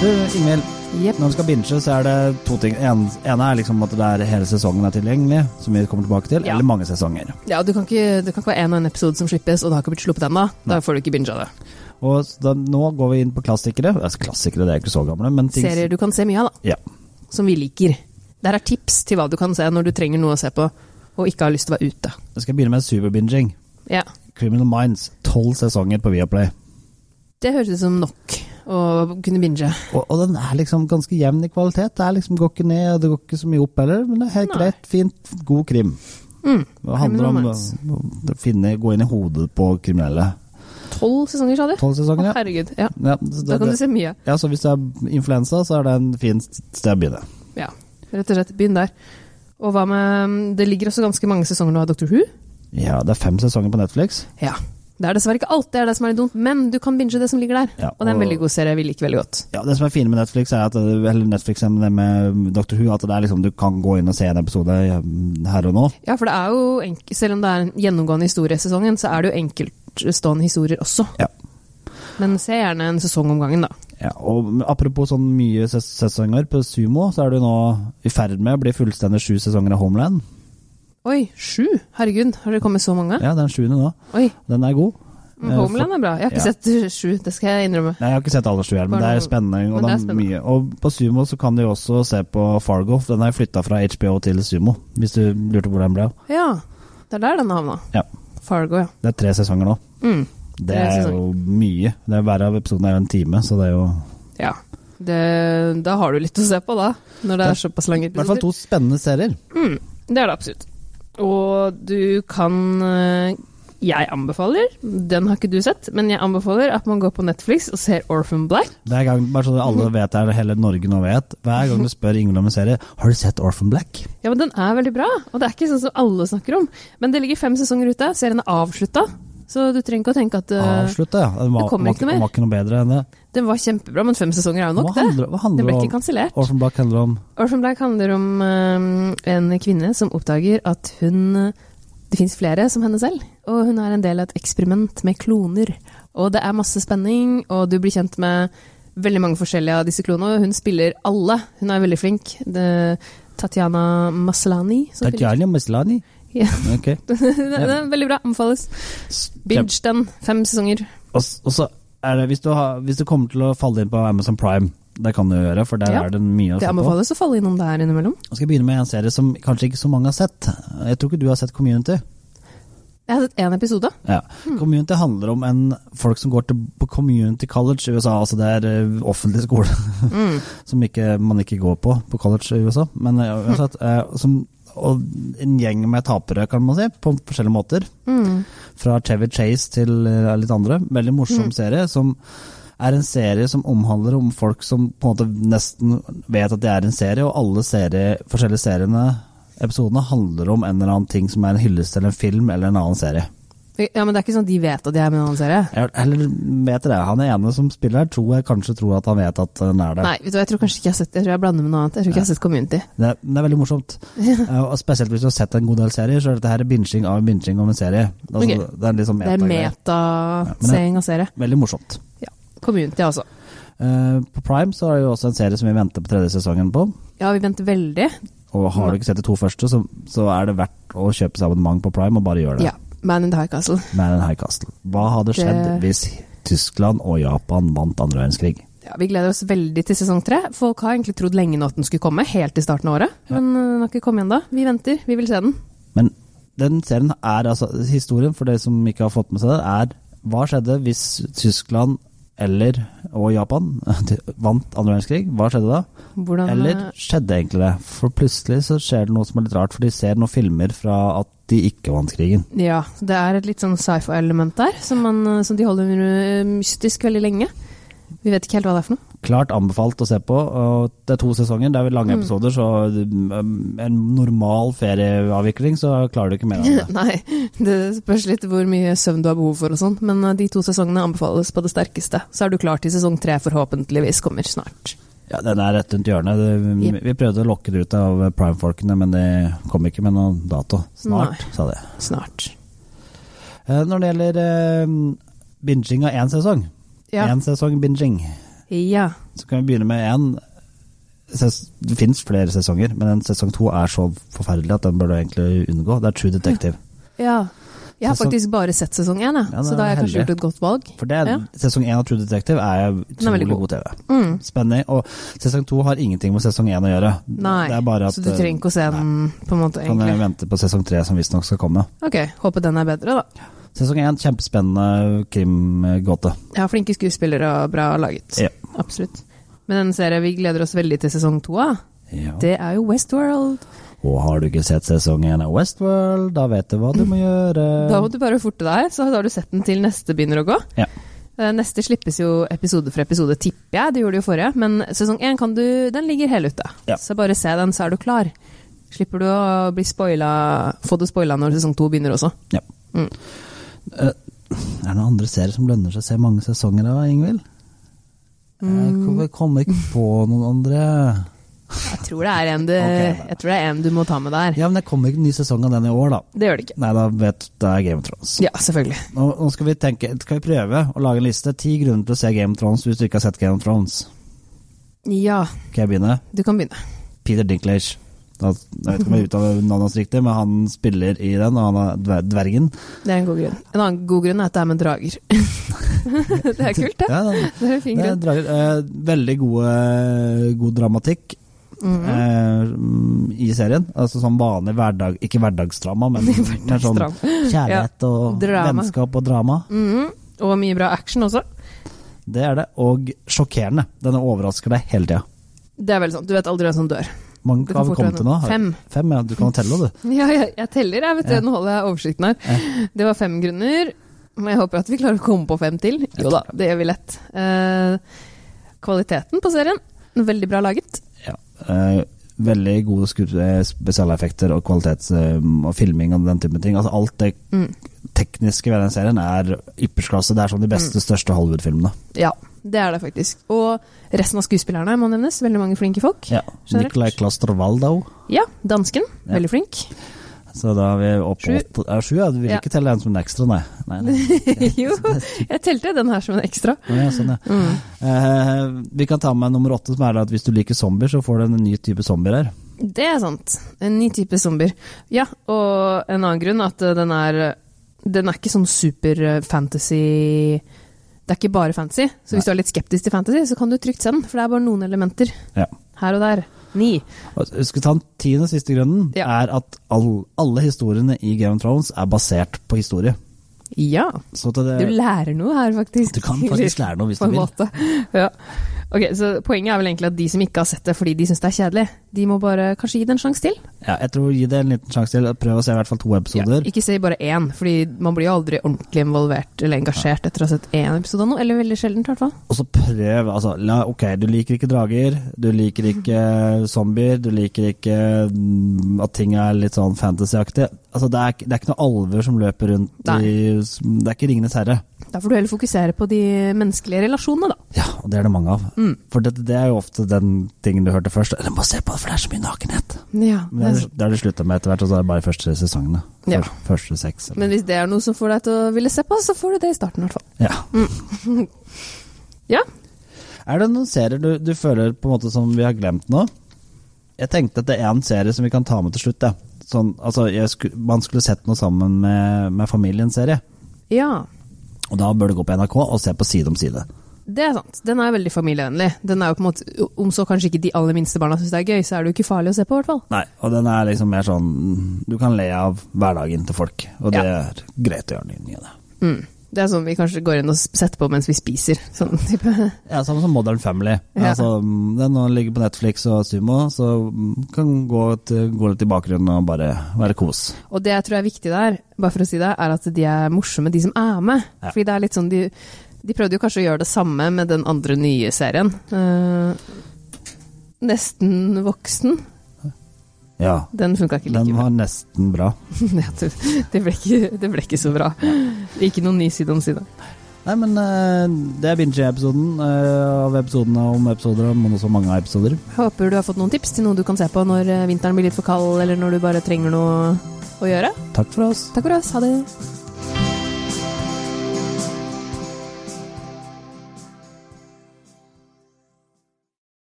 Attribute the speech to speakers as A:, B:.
A: Du, Ingvild.
B: Jepp.
A: Når vi skal binge, så er det to ting. En, ene er liksom at det er hele sesongen er tilgjengelig, som vi kommer tilbake til,
B: Ja.
A: eller mange sesonger.
B: Ja, og du kan, ikke, det kan ikke være én og én episode som slippes, og det har ikke blitt sluppet ennå. Da får du ikke binga det.
A: Og s- da, nå går vi inn på klassikere. Altså, klassikere, det er ikke så gamle, men ting
B: Serier du kan se mye av, da.
A: Ja.
B: Som vi liker. Der er tips til hva du kan se når du trenger noe å se på, og ikke har lyst til å være ute.
A: Jeg skal begynne med superbinging.
B: Ja.
A: Criminal Minds. Tolv sesonger på Viaplay.
B: Det høres ut som nok å kunne binge.
A: Og, og den er liksom ganske jevn i kvalitet. Det er liksom går ikke ned, og det går ikke så mye opp heller, men det er helt
B: Nei.
A: greit, fint, god krim.
B: Mm.
A: Det handler om
B: Criminal
A: å å finne, gå inn i hodet på kriminelle.
B: Tolv sesonger, sa du?
A: Tolv
B: Å,
A: sesonger, ja.
B: herregud. Ja.
A: ja så,
B: Da
A: det,
B: kan du
A: det,
B: se mye.
A: ja, så hvis det er influensa, så er det en fin st- sted å begynne.
B: Ja, rett og slett. Begynn der. Og hva med Det ligger også ganske mange sesonger nå av Dr. Who.
A: Ja, det er fem sesonger på Netflix.
B: Ja. Det er dessverre ikke alt, det er det som er litt dumt, men du kan binge det som ligger der.
A: Ja,
B: og, det er en
A: og-
B: veldig god serie, vi liker veldig godt.
A: Ja, Det som er fine med Netflix, er at eller Netflix er med, det med Dr. Who, at det er liksom, du kan gå inn og se en episode mm, her og nå.
B: Ja, for det er jo, enk selv om det er en gjennomgående historie i sesongen, så er det jo enkeltstående historier også.
A: Ja.
B: Men se gjerne en sesong om gangen, da.
A: Ja, og Apropos sånn mye ses sesonger på Sumo, så er du nå i ferd med å bli fullstendig sju sesonger av Homeland.
B: Oi, sju? Herregud, har det kommet så mange?
A: Ja, det er den sjuende nå.
B: Oi,
A: Den er god. Eh,
B: Homeland er bra. Jeg har ikke
A: Ja.
B: sett sju, det skal jeg innrømme.
A: Nei, Jeg har ikke sett alle sju her, men det
B: Bare
A: er
B: noe-
A: spennende. Og,
B: men det er
A: det er mye. og på Sumo så kan du jo også se på Fargo. for Den har flytta fra HBO til Sumo, hvis du lurte hvor den ble av.
B: Ja, det er der den havna.
A: Ja.
B: Fargo, ja.
A: Det er tre sesonger nå.
B: Mm.
A: Det
B: Tre
A: er
B: sesonger.
A: jo mye. Det er Hver av episodene er jo en time, så det er jo
B: Ja. Det, da har du litt å se på, da. Når det er såpass lange
A: I hvert fall
B: episoder.
A: to spennende serier.
B: Mm, det er det absolutt. Og du kan eh, Jeg anbefaler, den har ikke du sett, men jeg anbefaler at man går på Netflix og ser Orphan Black.
A: Det er gang, bare så alle vet det, eller hele Norge nå vet. Hver gang du spør Ingvild om en serie, har du sett Orphan Black?
B: Ja, men Den er veldig bra, og det er ikke sånn som alle snakker om. Men det ligger fem sesonger ute, serien er avslutta, så du trenger ikke å tenke at eh,
A: Avslutta, ja. Den var,
B: det kommer
A: var,
B: ikke noe mer.
A: var ikke noe bedre enn det.
B: den var kjempebra, men fem sesonger er jo nok,
A: hva handler, hva
B: det. Det
A: handler
B: ble ikke
A: om?
B: kansellert.
A: Orphan Black handler om
B: Orphan Black handler om eh, en kvinne som oppdager at hun eh, Det fins flere som henne selv, og hun er en del av et eksperiment med kloner. Og det er masse spenning, og du blir kjent med veldig mange forskjellige av disse klonene. og Hun spiller alle. Hun er veldig flink. Det, Tatjana Maslani. som spiller-
A: Tatjana Maslani.
B: Ja.
A: Ok.
B: Den er veldig bra. Anbefales. Binge den. Fem sesonger.
A: Og, s- og så er det, hvis du, har, hvis du kommer til å falle inn på Amazon Prime, det kan du gjøre, for der
B: Ja,
A: er det mye å se
B: Det
A: på.
B: anbefales å falle innom der innimellom.
A: Jeg skal begynne med en serie som kanskje ikke så mange har sett. Jeg tror ikke du har sett Community.
B: Jeg har sett én episode.
A: Ja. Community handler om en, folk som går til, på Community College i USA, altså det er eh, offentlig skole.
B: Mm.
A: som ikke, man ikke går på på college i USA. Men eh, uansett, eh, som, og en gjeng med tapere, kan man si, på forskjellige måter.
B: Mm.
A: Fra Chevy Chase til eh, litt andre. Veldig morsom serie. som er en serie som omhandler om folk som på en måte nesten vet at det er en serie, og alle serie, forskjellige seriene, episodene, handler om en eller annen ting som er en hyllest til en film eller en annen serie.
B: Ja, men det er ikke sånn at de vet at jeg er med i en annen serie.
A: Jeg- Eller vet dere, han ene som spiller her, tror jeg kanskje tror at han vet at den er der.
B: Nei, vet du hva, jeg tror kanskje ikke jeg har sett det. Jeg tror jeg blander med noe annet. Jeg tror ikke jeg har sett Community.
A: Det, det er veldig morsomt. Eh, og spesielt hvis du har sett en god del serier, så er dette her binging av en binging om en serie. Altså,
B: Ok.
A: Det er litt sånn
B: Det er
A: metagreier. men det-
B: metaseing av serie.
A: Veldig morsomt.
B: Community, altså.
A: Eh, på Prime så er det jo også en serie som vi venter på tredje sesongen på.
B: Ja, vi venter veldig.
A: Og har du ikke sett de to første, så, så er det verdt å kjøpe seg abonnement på Prime og bare gjøre det.
B: Ja. Man in the High Castle.
A: Med en high castle. Hva hadde skjedd
B: Det-
A: hvis Tyskland og Japan vant andre verdenskrig?
B: Ja, vi gleder oss veldig til sesong tre. Folk har egentlig trodd lenge nå at den skulle komme, helt i starten av året. Men øh, den har ikke kommet ennå. Vi venter, vi vil se den.
A: Men den serien er altså Historien, for dere som ikke har fått med seg det, er hva skjedde hvis Tyskland eller og Japan de vant andre verdenskrig, hva skjedde da?
B: Hvordan eh,
A: Eller skjedde egentlig det? For plutselig så skjer det noe som er litt rart, for de ser noen filmer fra at de ikke vant krigen.
B: Ja, det er et litt sånn sci-fi-element der, som, man, eh, som de holder øh, mystisk veldig lenge. Vi vet ikke helt hva det er for noe.
A: Klart anbefalt å se på. og Det er to sesonger, det er vel lange
B: Mm.
A: episoder, så um, en normal ferieavvikling så klarer du ikke mer av det.
B: Nei, det spørs litt hvor mye søvn du har behov for og sånn, men øh, de to sesongene anbefales på det sterkeste. Så er du klar til sesong tre forhåpentligvis kommer snart.
A: Ja, Den er rett rundt hjørnet. Det-
B: Jep.
A: Vi prøvde å lokke det ut av Prime-folkene, men de kom ikke med noen dato. Snart, sa de.
B: Snart.
A: Eh, Når det gjelder eh, binging av én sesong,
B: Ja.
A: én sesong binging,
B: ja.
A: så kan vi begynne med én. Ses- Det fins flere sesonger, men en sesong to er så forferdelig at den bør du egentlig unngå. Det er True Detective.
B: Ja. Jeg har
A: Sesong-
B: faktisk bare sett sesong én, jeg,
A: Ja, det
B: så
A: er
B: da har jeg kanskje
A: heldig.
B: gjort et godt valg.
A: For det er,
B: Ja.
A: sesong én av True Detective er
B: er veldig
A: utrolig god. TV.
B: Mm.
A: Spennende. Og sesong to har ingenting med sesong én å gjøre.
B: Nei,
A: det er bare at
B: så du trenger ikke å se den, på en måte,
A: eh, kan
B: egentlig.
A: vente på sesong tre, som visstnok skal komme.
B: Ok, håper den er bedre, da.
A: Sesong én, kjempespennende krimgåte.
B: Jeg har flinke skuespillere og bra laget.
A: Ja.
B: Absolutt. Men en serie vi gleder oss veldig til sesong to av,
A: Ja.
B: det er jo Westworld.
A: Og har du ikke sett sesong én av Westworld, da vet du hva du må gjøre.
B: Da må du bare forte deg, så har du sett den til neste begynner å gå.
A: Ja.
B: Eh, Neste slippes jo episode for episode, tipper jeg. Det gjorde de jo forrige. Men sesong én kan du, den ligger hele ute.
A: Ja.
B: Så bare se den, så er du klar. Slipper du å bli spoila, få det spoila når sesong to begynner også.
A: Ja.
B: Mm.
A: Eh, er det noen andre serier som lønner seg å se mange sesonger av, Ingvild? Eh, Jeg
B: Mm.
A: kommer- kommer ikke på noen andre.
B: Jeg tror det er en du,
A: Ok, da.
B: jeg tror det er en du må ta med der.
A: Ja, men det kommer ikke en ny sesong av den i år, da.
B: Det gjør det ikke.
A: Nei, da vet du det er Game of Thrones.
B: Ja, selvfølgelig.
A: Nå, nå skal, vi tenke, skal vi prøve å lage en liste. Ti grunner til å se Game of Thrones hvis du ikke har sett Game of Thrones.
B: Ja,
A: Kan jeg begynne?
B: du kan begynne.
A: Peter Dinklage. Da, jeg vet ikke om jeg uttaler navnet hans riktig, men han spiller i den, og han er dver- dvergen.
B: Det er en god grunn. En annen god grunn er at det er med drager. det er kult, det.
A: Ja, den,
B: Det er en fin
A: det er
B: grunn.
A: drager. Eh, veldig gode, god dramatikk.
B: Mhm.
A: eh, mm, i serien. Altså sånn vanlig hverdag, ikke hverdagsdrama, men, men sånn
B: Stram.
A: kjærlighet og
B: drama.
A: vennskap og drama.
B: Mhm. Og mye bra action også.
A: Det er det. Og sjokkerende. Den overrasker deg hele tida.
B: Det er vel sånn, Du vet aldri hvem som dør.
A: Mange
B: Det
A: har
B: kan
A: vi
B: fort
A: kommet til nå?
B: være fem.
A: Fem, ja. Du kan telle, du.
B: Ja, jeg, jeg teller, jeg. vet du,
A: Ja.
B: Nå holder jeg oversikten her. Det var fem grunner. Men jeg håper at vi klarer å komme på fem til. Jo da, det gjør vi lett. Eh, kvaliteten på serien, veldig bra laget.
A: Ja. Eh, veldig gode skup- eh, spesialeffekter og kvalitets... eh, og filming og den typen ting. Altså alt det
B: Mm.
A: tekniske ved den serien er ypperstklasse. Det er som de
B: Mm.
A: beste, største Hollywood-filmene.
B: Ja, det er det faktisk. Og resten av skuespillerne må nevnes. Veldig mange flinke folk.
A: Ja.
B: Generelt.
A: Nicolai Cluster Waldau.
B: Ja, dansken.
A: Ja.
B: Veldig flink.
A: Så da er vi oppe
B: Sju.
A: på åtte- ja, sju. Ja, du vil
B: Ja.
A: ikke telle en som en ekstra, nei. nei, nei.
B: jo, jeg telte den her som en ekstra.
A: Å, Ja, sånn, ja.
B: Mm.
A: Eh, vi kan ta med nummer åtte, som er da at hvis du liker zombier, så får du en ny type zombier her.
B: Det er sant. En ny type zombier. Ja, og en annen grunn at eh, den er Den er ikke sånn super eh, fantasy Det er ikke bare fantasy. Så hvis du er litt skeptisk til fantasy, så kan du trygt se den. For det er bare noen elementer
A: Ja.
B: her og der. Ni.
A: Og Skal vi ta den tiende siste grunnen,
B: Ja.
A: er at all, alle historiene i Game of Thrones er basert på historie.
B: Ja. Eh.
A: Så til det,
B: Du lærer noe her, faktisk.
A: du kan faktisk lære noe hvis
B: På
A: du
B: en
A: vil.
B: måte. Ja. Ok, så Poenget er vel egentlig at de som ikke har sett det fordi de syns det er kjedelig, de må bare kanskje gi det en sjanse til.
A: Ja, jeg tror Gi det en liten sjanse til. Prøv å se i hvert fall to episoder.
B: Ikke si bare én, fordi man blir jo aldri ordentlig involvert eller engasjert etter å ha sett én episode av noe. Eller veldig sjeldent, i hvert fall.
A: Og så prøv. Altså, la, ok, du liker ikke drager, du liker ikke zombier, du liker ikke mm, at ting er litt sånn fantasyaktig. Altså, det, er, ikke- det er ikke noen alver som løper rundt
B: Nei.
A: i Det er ikke Ringenes herre.
B: Da får du heller fokusere på de menneskelige relasjonene, da.
A: Ja, og det er det mange av.
B: Mm.
A: For det, det er jo ofte den tingen du hørte først. Eller må se på det, for det er så mye nakenhet.
B: Ja,
A: Men det er det har de slutta med etter hvert, og så er det bare første sesongene.
B: Ja.
A: Første, første seks. Eller.
B: Men hvis det er noe som får deg til å ville se på, så får du det i starten, i hvert fall.
A: Ja.
B: Ja.
A: Er det noen serier du, du føler på en måte som vi har glemt nå? Jeg tenkte at det er en serie som vi kan ta med til slutt. Ja. Sånn, altså, jeg sku, man skulle sett noe sammen med, med familien-serie.
B: ja.
A: Og da bør du gå på NRK og se på Side om side.
B: Det er sant. Den er veldig familievennlig. Den er jo på en måte, Om så kanskje ikke de aller minste barna syns det er gøy, så er det jo ikke farlig å se på, i hvert fall.
A: Nei, og den er liksom mer sånn Du kan le av hverdagen til folk, og det
B: Ja.
A: er greit å gjøre den inn i det.
B: Mm. Det er sånn vi kanskje går inn og setter på mens vi spiser. Sånn type.
A: Ja, Samme som Modern Family.
B: Ja.
A: Altså, den nå ligger på Netflix og Sumo, så kan gå, til, gå litt i bakgrunnen og bare være kos.
B: Og det jeg tror er viktig der, bare for å si det, er at de er morsomme, de som er med.
A: Ja.
B: Fordi det er litt sånn de, de prøvde jo kanskje å gjøre det samme med den andre nye serien. Eh, nesten voksen.
A: Ja.
B: Den funka ikke like
A: Den var nesten bra.
B: bra. Ja, det, det, ble ikke, det ble ikke så bra. Ikke noen ny side om side.
A: Nei, men eh, det er Binge-episoden eh, av episodene om episoder om også mange episoder.
B: Håper du har fått noen tips til noe du kan se på når eh, vinteren blir litt for kald, eller når du bare trenger noe å gjøre.
A: Takk for oss.
B: Takk for oss. Ha det.